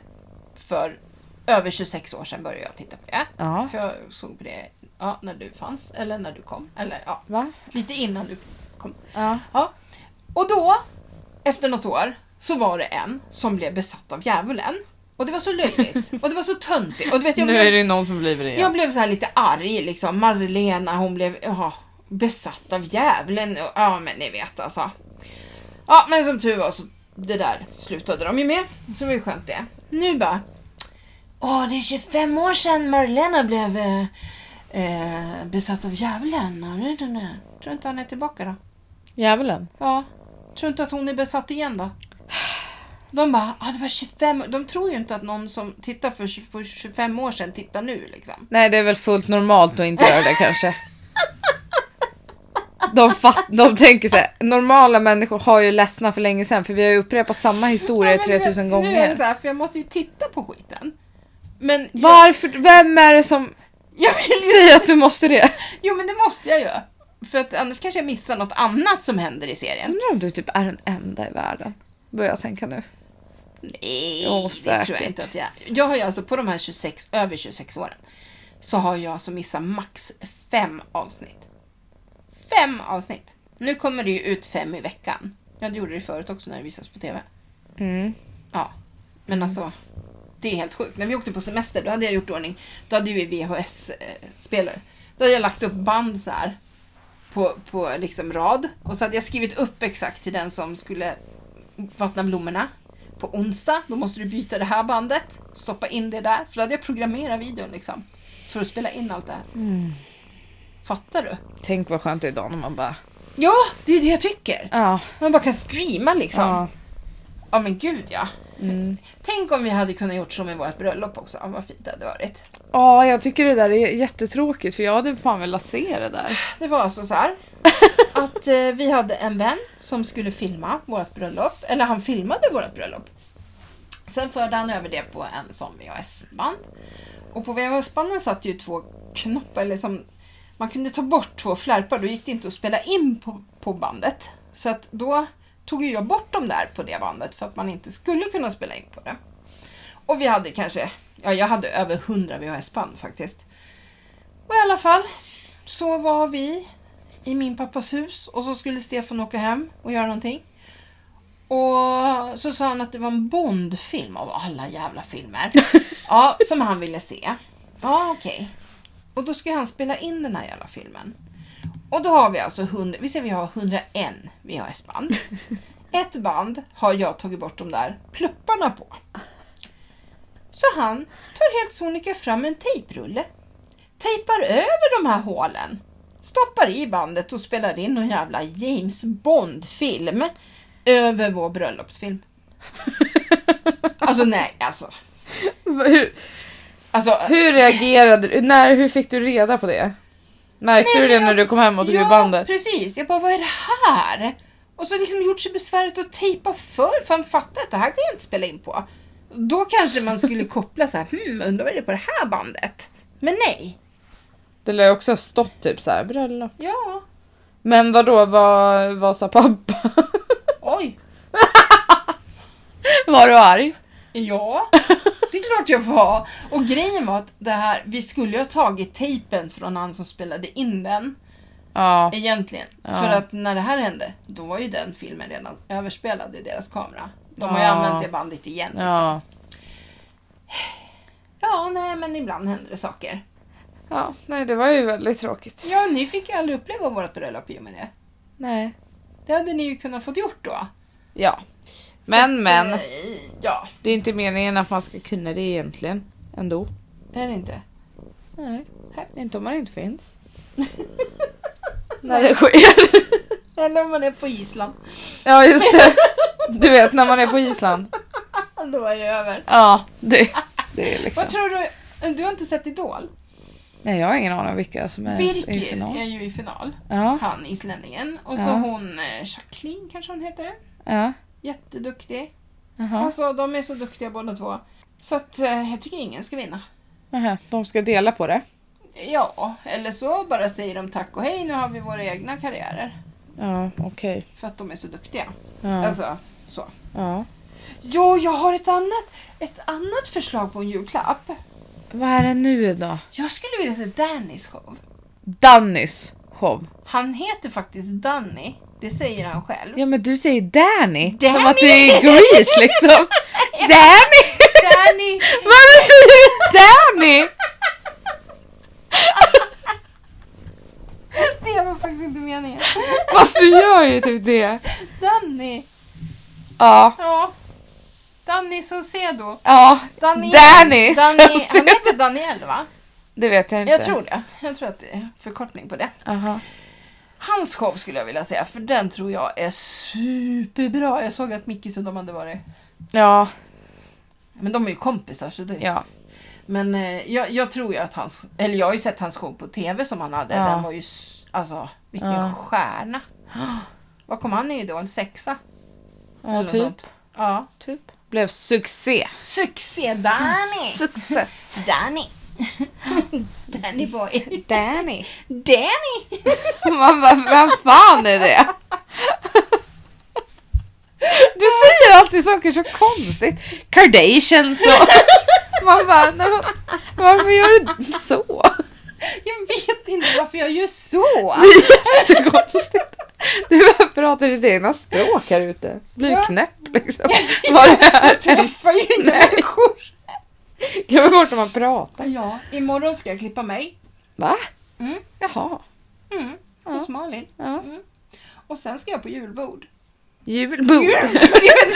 för över 26 år sedan började jag titta på det. Ja. För jag såg på det ja, när du fanns, eller när du kom, eller ja, Va? lite innan du kom. Ja. Ja. Och då, efter något år, så var det en som blev besatt av djävulen. Och det var så löjligt, och det var så töntigt. Och du vet, jag Nu blev är det någon som blir det jag igen. blev så här lite arg liksom. Marlena hon blev ja, besatt av djävulen. och- Ja men ni vet alltså. Ja men som tur var så det där slutade de ju med. Så det var ju skönt det. Nu bara. Åh det är 25 år sedan Marlena blev eh, eh, besatt av djävulen. Ja, nu, nu, nu. Tror inte han är tillbaka då? Djävulen? Ja. Tror inte att hon är besatt igen då? De bara, ah, det var 25 De tror ju inte att någon som tittar för 20 på 25 år sedan tittar nu liksom. Nej, det är väl fullt normalt att inte göra det kanske. De, fatt, de tänker så här, normala människor har ju ledsna för länge sedan för vi har ju upprepat samma historia Ja, men du vet, 3000 Nu är det gånger. så här, för jag måste ju titta på skiten. Men jag, Varför, vem är det som jag vill ju... säger att du måste det? Jo men det måste jag göra. För att annars kanske jag missar något annat som händer i serien. Undrar om du typ är den enda i världen. Börjar jag tänka nu. Nej, Jo, det säkert. tror jag inte att jag Jag har ju alltså på de här 26, över 26 åren så har jag alltså missat max fem avsnitt. Fem avsnitt! Nu kommer det ju ut fem i veckan. Ja, det gjorde det förut också när det visades på TV. Mm. Ja, men alltså det är helt sjukt. När vi åkte på semester då hade jag gjort ordning, då hade ju vi VHS-spelare. Då hade jag lagt upp band så här på, på liksom rad och så hade jag skrivit upp exakt till den som skulle vattna blommorna. På onsdag, då måste du byta det här bandet, stoppa in det där. För då hade jag programmerat videon liksom. För att spela in allt det här. Fattar du? Tänk vad skönt det är idag när man bara... Ja, det är det jag tycker. Ja. Man bara kan streama liksom. ja. Ja men gud ja. Mm. Tänk om vi hade kunnat gjort så med vårt bröllop också. Ja, vad fint det hade varit. ja, jag tycker det där är jättetråkigt för jag hade fan velat se det där. Det var alltså så här. Att eh, vi hade en vän som skulle filma vårt bröllop. Eller han filmade vårt bröllop. Sen förde han över det på en sån VHS-band. Och på VHS-banden satt ju två knoppar. Eller som, man kunde ta bort två flärpar. Då gick det inte att spela in på, på bandet. Så att då tog ju jag bort dem där på det bandet för att man inte skulle kunna spela in på det. Och vi hade kanske, ja jag hade över 100 VHS-band faktiskt. Och i alla fall så var vi i min pappas hus och så skulle Stefan åka hem och göra någonting. Och så sa han att det var en Bondfilm av alla jävla filmer. ja, som han ville se. Ja, okej. Och då skulle han spela in den här jävla filmen. Och då har vi alltså 100, vi säger vi har 101 VHS-band. Ett band har jag tagit bort de där plupparna på. Så han tar helt sonika fram en tejprulle, tejpar över de här hålen, stoppar i bandet och spelar in någon jävla James Bond-film över vår <laughs> bröllopsfilm. Alltså nej, alltså. Hur, alltså hur reagerade du? När, hur fick du reda på det? Märkte Nej, du det men när jag- du kom hem och tog ur ja, bandet? precis. Jag bara, vad är det här? Och så liksom gjort sig besväret att tejpa för. Fan fatta att det här kan jag inte spela in på. Då kanske man <laughs> skulle koppla så här, hmm, undrar vad det är på det här bandet? Men nej. Det lär ju också ha stått typ såhär bröllop. Ja, Men vadå, vad, vad <laughs> sa pappa? oj. Var du arg? <laughs> Ja, det är klart jag var. Och grejen var att det här, vi skulle ju ha tagit tejpen från han som spelade in den Ja. egentligen. Ja. För att när det här hände, då var ju den filmen redan överspelad i deras kamera. De har ju Ja. använt det bandet igen. Liksom. Ja. ja, nej men ibland händer det saker. ja. Nej, det var ju väldigt tråkigt. Ja, ni fick ju aldrig uppleva vårt bröllop i och med det. Nej. Det hade ni ju kunnat fått gjort då. Ja. Så Men att, men, eh, Ja, det är inte meningen att man ska kunna det egentligen. Ändå. är det inte? Nej. Nej. Inte om man inte finns. När det sker. <laughs> <laughs> Eller om man är på Island. Ja just det. Du vet när man är på Island. Då är det över. Ja, det, det är liksom. Vad tror du? Du har inte sett Idol? Nej jag har ingen aning om vilka som är Eh, i Birkir är final. ju i final. Ja, Han islänningen. Och så Ja. hon eh, Jacqueline kanske hon heter. ja, Jätteduktig. jaha. Alltså de är så duktiga båda två. Så att eh, jag tycker ingen ska vinna. Nähä, De ska dela på det. Ja, eller så bara säger de tack och hej nu har vi våra egna karriärer. Ja, okej. För att de är så duktiga. Ja, Alltså så. ja. Jo, jag har ett annat, ett annat förslag på en julklapp. Vad är det nu då? Jag skulle vilja se Dannys show. Dannys show. Han heter faktiskt Danny. Det säger han själv. Ja men du säger Danny. Danny! Som att du är i <laughs> Grease liksom. Danny! <laughs> Danny! Varför säger du Danny? Det var faktiskt inte meningen. Fast du gör ju typ det. Danny! Ja, Ja. Danny Saucedo. ja. Daniel. Danny! Danny. Saucedo. Han heter Daniel va? Det vet jag inte. Jag tror det. Jag tror att det är förkortning på det. Aha. Hans show skulle jag vilja säga, för den tror jag är superbra. Jag såg att Mickis och de hade varit... Ja, Men de är ju kompisar så det... ja. Men eh, jag, jag tror ju att hans, eller jag har ju sett hans show på TV som han hade. Ja. Den var ju, s- alltså vilken Ja. stjärna. Vad kom han i Idol? Sexa? Ja, Eller något typ. sånt. Ja. typ. Blev succé. Succé Danny! Success. Danny! <laughs> Danny boy. Danny. Danny! <laughs> Man bara, vem fan är det? Du säger alltid saker så konstigt. Kardashians <laughs> och... Man bara, nej, men varför gör du så? <laughs> Jag vet inte varför jag gör så. Det är jättekonstigt. Du bara pratar ditt egna språk här ute. Blir Ja. knäpp <laughs> liksom. Vad det här Jag träffar ju inga Nej. människor. Glömmer bort när man pratar. Ja, imorgon ska jag klippa mig. Va? Mm. Jaha. Mm. Hos Malin. Mm. Ja. Och sen ska jag på julbord. Julbord. <laughs> <laughs>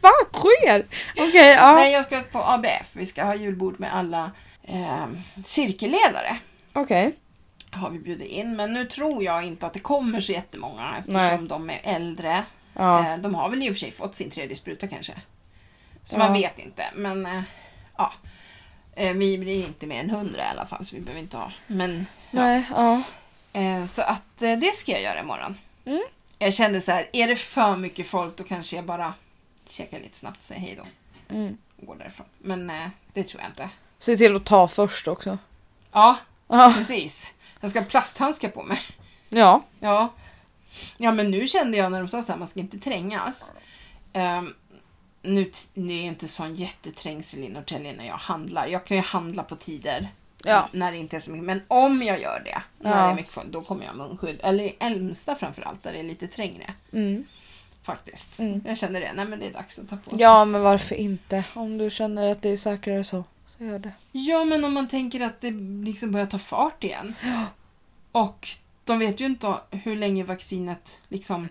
Vad fan sker? Okej, ja. Nej, jag ska på ABF. Vi ska ha julbord med alla eh, cirkelledare. Okej. Har vi bjudit in, men nu tror jag inte att det kommer så jättemånga eftersom Nej. de är äldre. Ja. Eh, de har väl i och för sig fått sin tredje spruta kanske. Så Ja. man vet inte, men eh, ja. Eh, vi blir inte mer än hundra i alla fall, så vi behöver inte ha. Men Nej, ja. Eh, Så att eh, det ska jag göra imorgon. Mm. Jag kände så här, är det för mycket folk då kanske jag bara checkar lite snabbt och säger hej då Mm. och går därifrån. Men eh, det tror jag inte. Se till att ta först också. Ja, Ja. precis. Jag ska ha plasthandskar på mig. Ja. Ja. ja, men nu kände jag när de sa så här, man ska inte trängas. Ehm, nu t- det är inte sån jätteträngsel i Norrtälje när jag handlar. Jag kan ju handla på tider Ja. när det inte är så mycket. Men om jag gör det, när det Ja. är mycket folk, då kommer jag ha munskydd. Eller i Älmsta framförallt, där det är lite trängre. Mm. Faktiskt. Mm. Jag känner det. Nej men det är dags att ta på sig. Ja, men varför inte? Om du känner att det är säkrare så, så gör det. ja men om man tänker att det liksom börjar ta fart igen. Och de vet ju inte hur länge vaccinet liksom...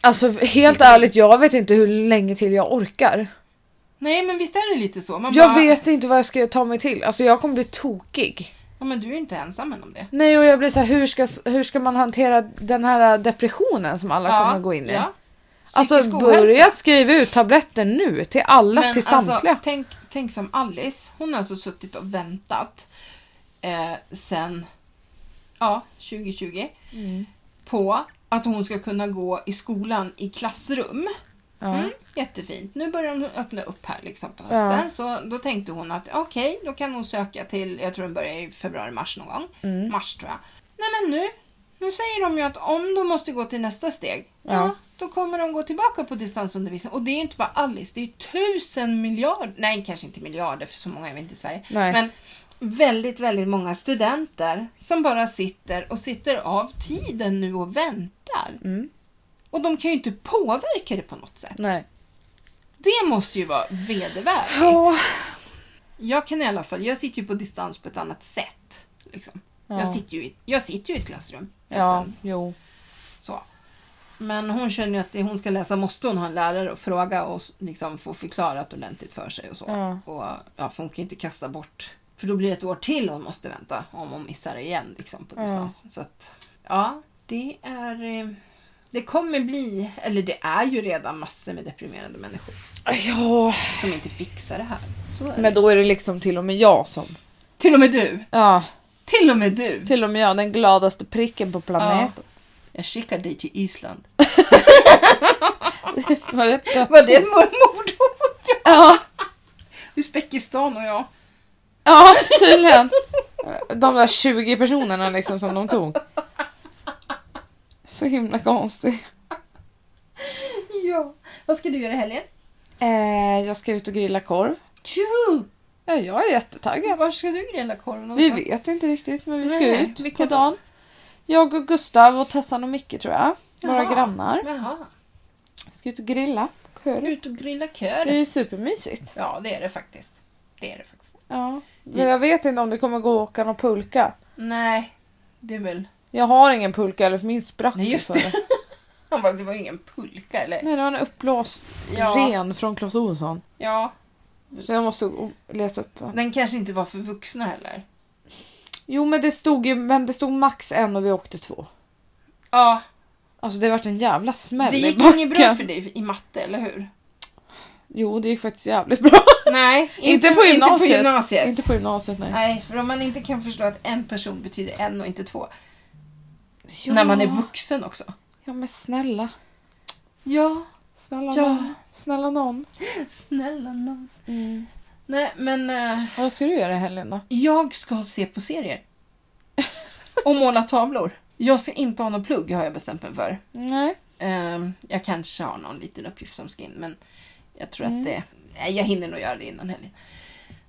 Alltså helt ärligt, jag vet inte hur länge till jag orkar. Nej men visst är det lite så? Man Jag bara, vet inte vad jag ska ta mig till. Alltså jag kommer bli tokig. Ja, men du är ju inte ensam om det. Nej och jag blir så här, hur ska, hur ska man hantera den här depressionen som alla kommer att gå in i? Ja. Psykisk Alltså ohälsa. börja skriva ut tabletter nu till alla, till samtliga. Alltså, tänk, tänk som Alice. Hon har alltså suttit och väntat eh, sen ja, 2020 Mm. på att hon ska kunna gå i skolan i klassrum. Ja. Mm, jättefint. Nu börjar de öppna upp här liksom på hösten. Så då tänkte hon att okej, då kan hon söka till, jag tror den börjar i februari-mars någon gång. Mm. Mars tror jag. Nej men nu, nu säger de ju att om de måste gå till nästa steg, ja. Ja. då kommer de gå tillbaka på distansundervisning. Och det är inte bara Alice, det är tusen miljarder, nej kanske inte miljarder för så många är vi inte i Sverige. Nej. Men väldigt, väldigt många studenter som bara sitter och sitter av tiden nu och väntar. Mm. Och de kan ju inte påverka det på något sätt. Nej. Det måste ju vara vedervärdigt. Ja. Jag kan i alla fall, jag sitter ju på distans på ett annat sätt. Liksom. Ja. Jag, sitter ju i, jag sitter ju i ett klassrum. Ja, förresten. jo. Så. Men hon känner ju att det hon ska läsa måste hon ha en lärare och fråga och s- liksom få förklarat ordentligt för sig och så. Ja. Och, ja, för hon kan ju inte kasta bort, för då blir det ett år till hon måste vänta om hon missar det igen liksom, på Ja. distans. Så att, ja, det är... eh, Det kommer bli, eller det är ju redan massor med deprimerade människor Ja. som inte fixar det här. Så är det. Men då är det liksom till och med jag som... Till och med du! Ja, Till och med du! till och med jag, den gladaste pricken på planeten. Jag skickar dig till Island. <laughs> Var det ett döds- Var det ett mordhot? Ja. Ja, Uzbekistan och jag. ja, tydligen. De där 20 personerna liksom som de tog. Så himla konstigt. Ja. Vad ska du göra i helgen? Eh, jag ska ut och grilla korv. Tjo! Ja, jag är jättetaggad. Var ska du grilla korv Vi någonstans? vet inte riktigt men vi ska Nej, ut vilka på då? dagen. Jag och Gustav och Tessan och Micke tror jag. Våra Jaha. grannar. Jaha. Ska ut och grilla. Korv. Ut och grilla Det är kör. ju supermysigt. Ja, det är det faktiskt. Det är det faktiskt. Ja. Men jag vet inte om det kommer gå att åka någon pulka. Nej, det är väl... Jag har ingen pulka eller för min sprack. Nej, just för det. Han bara, det var ju ingen pulka eller? Nej, det var en uppblåst <laughs> Ja. ren från Clas Ohlson. Ja. Så jag måste o- leta upp den. Den kanske inte var för vuxna heller. Jo men det stod ju men det stod max en och vi åkte två. Ja, Alltså det vart en jävla smäll det i gick backen. inget bra för dig i matte, eller hur? Jo det gick faktiskt jävligt <laughs> bra. Nej, <laughs> Inte på Inte på gymnasiet. gymnasiet. inte på gymnasiet nej. Nej, för om man inte kan förstå att en person betyder en och inte två. Ja. När man är vuxen också. Ja men snälla. Ja, Snälla Ja. någon. Snälla någon. snälla nån. Mm. Nej, men eh, Vad ska du göra i helgen då? jag ska se på serier. och måla tavlor. Jag ska inte ha någon plugg har jag bestämt mig för. Nej. Eh, jag kanske har någon liten uppgift som ska in, men jag tror Mm. att det... Nej, jag hinner nog göra det innan helgen.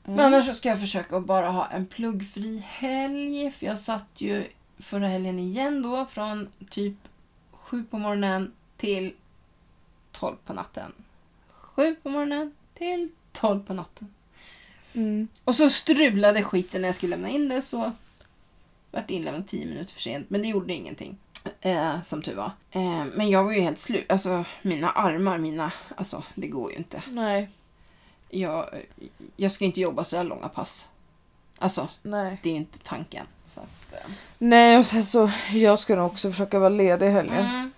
Mm. Men annars så ska jag försöka att bara ha en pluggfri helg. För jag satt ju förra helgen igen då från typ sju på morgonen till 12 på natten. Sju på morgonen till 12 på natten. Mm. Och så strulade skiten när jag skulle lämna in det så vart det inlämnat 10 minuter för sent. Men det gjorde ingenting. Eh, som tur var. Eh, men jag var ju helt slut. Alltså mina armar, mina... Alltså det går ju inte. Nej. Jag, jag ska inte jobba så här långa pass. Alltså Nej. det är inte tanken. Så att, eh. Nej och sen så jag ska nog också försöka vara ledig i helgen. mm,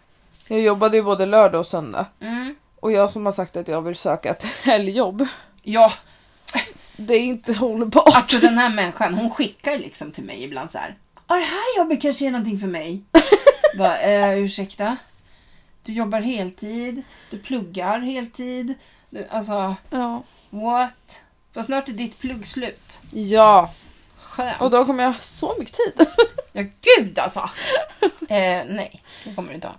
Jag jobbade ju både lördag och söndag. mm. Och jag som har sagt att jag vill söka ett <laughs> helgjobb. Ja, Det är inte hållbart. alltså den här människan hon skickar liksom till mig ibland så här. "Ja, Det här jobbet kanske är någonting för <laughs> mig. Bara, eh, ursäkta? Du jobbar heltid, du pluggar heltid. Du, alltså, Ja. what? För snart är ditt plugg slut. ja. Skönt. Och då kommer jag ha så mycket tid. Ja, gud alltså! <laughs> Eh, nej, det kommer du inte ha.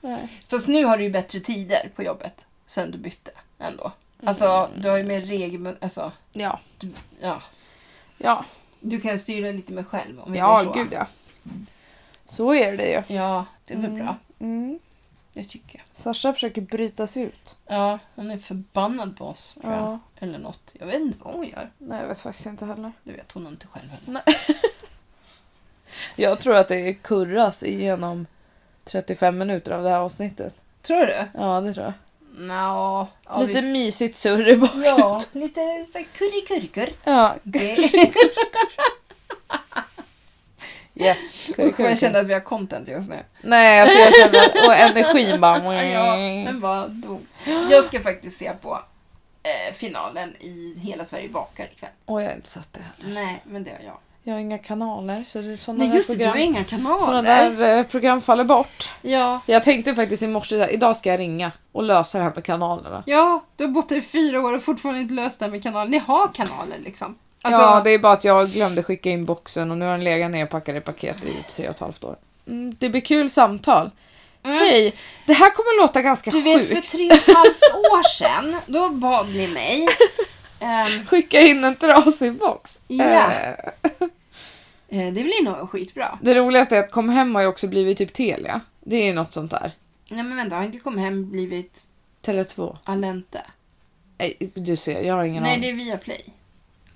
Nej. Fast nu har du ju bättre tider på jobbet sen du bytte ändå. Alltså, Mm. du har ju mer regel... Alltså, Ja. du, ja. Ja. Du kan styra lite mer själv om vi säger Ja så. gud ja. Så är det ju. Ja, det är väl bra. Mm. Det tycker jag. Sasha försöker bryta sig ut. Ja, hon är förbannad på oss. Tror jag. Ja. Eller något. Jag vet inte vad hon gör. Nej jag vet faktiskt inte heller. Du vet, hon är inte själv heller. Nej. Jag tror att det kurras igenom 35 minuter av det här avsnittet. Tror du? Ja, det tror jag. Nå, ja, Lite mysigt surr i bakgrunden. Ja, <laughs> lite så här kurrikurkur. Ja. <laughs> Det- Yes. Usch, vad jag känner att vi har content just nu. Nej, alltså jag känner... Och energin <laughs> bara... Ja, den bara <gasps> dog. Jag ska faktiskt se på eh, finalen i Hela Sverige bakar ikväll. Och jag har inte satt det. Nej, men det har jag. Jag har inga kanaler, så det är sådana Nej, där just det, du program... har inga Sådana kanaler. där eh, program faller bort. Ja. Jag tänkte faktiskt i morse så här, idag ska jag ringa och lösa det här med kanalerna. ja, du har bott här i fyra år och fortfarande inte löst det här med kanaler. Ni har kanaler liksom. Alltså, ja, det är bara att jag glömde skicka in boxen och nu har den legat nerpackad i paket i tre och ett halvt år. Mm, det blir kul samtal. Mm. Hej! Det här kommer låta ganska Du vet, sjukt. <laughs> för tre och ett halvt år sedan, då bad ni mig. ehm, Skicka in en trasig box. Ja. Eh, eh, det blir nog skitbra. det roligaste är att kom hem har ju också blivit typ Telia. Det är ju något sånt där. Nej men vänta, har inte kommit hem blivit Tele2. Alente? Nej, du ser, jag har ingen Nej, aning. det är Viaplay.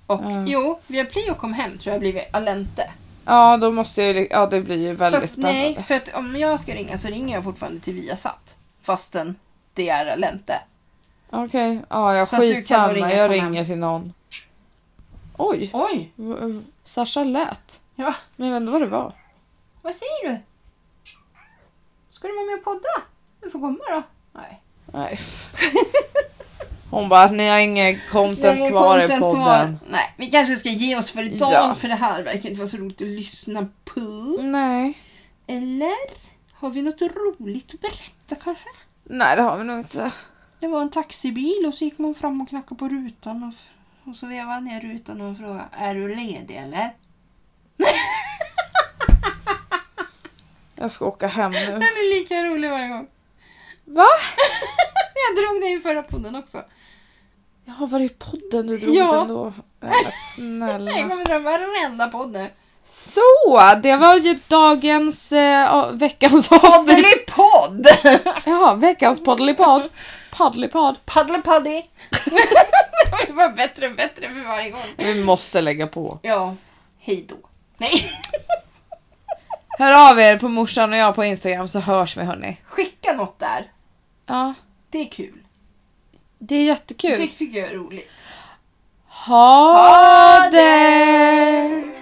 Och Ja. jo, Viaplay och kom hem tror jag blivit Alente. Ja, då måste jag ju... li- Ja, det blir ju väldigt Fast spännande. nej, för att om jag ska ringa så ringer jag fortfarande till Viasat. Fastän det är Alente. Okej, ja, ja Så att du kan skitsamma. nog ringa jag på ringer namn. till någon. Oj, Oj! v- v- Sasha lät. Ja. Men jag vet inte vad det var. Vad säger du? Ska du vara med och podda? Du får komma då. Nej. Nej. <laughs> Hon bara att ni har inget content Jag har kvar i content podden. kvar. Nej, vi kanske ska ge oss för idag Ja. för det här verkar inte vara så roligt att lyssna på. Nej. Eller? Har vi något roligt att berätta kanske? Nej, det har vi nog inte. Det var en taxibil och så gick man fram och knackade på rutan och, f- och så vevade han ner rutan och frågade Är du ledig eller? Jag ska åka hem nu. Den är lika rolig varje gång. Mm. Va? <laughs> Mm. Jag drog den i förra podden också. Jag har varit i podden du drog Ja. den då. Nej, Jag snälla. kommer dra varenda podd nu. Så, det var ju dagens, eh, av- veckans avsnitt. Poddelipodd! Ja, veckans poddelipodd. <laughs> Poddelipodd. Paddlepoddy! det var bättre och bättre för varje gång. Vi måste lägga på. Ja, hej då. Nej, <laughs> Hör av er på morsan och jag på Instagram så hörs vi hörni. skicka något där. Ja, Det är kul. det är jättekul. Det tycker jag är roligt. Ha, Ha det!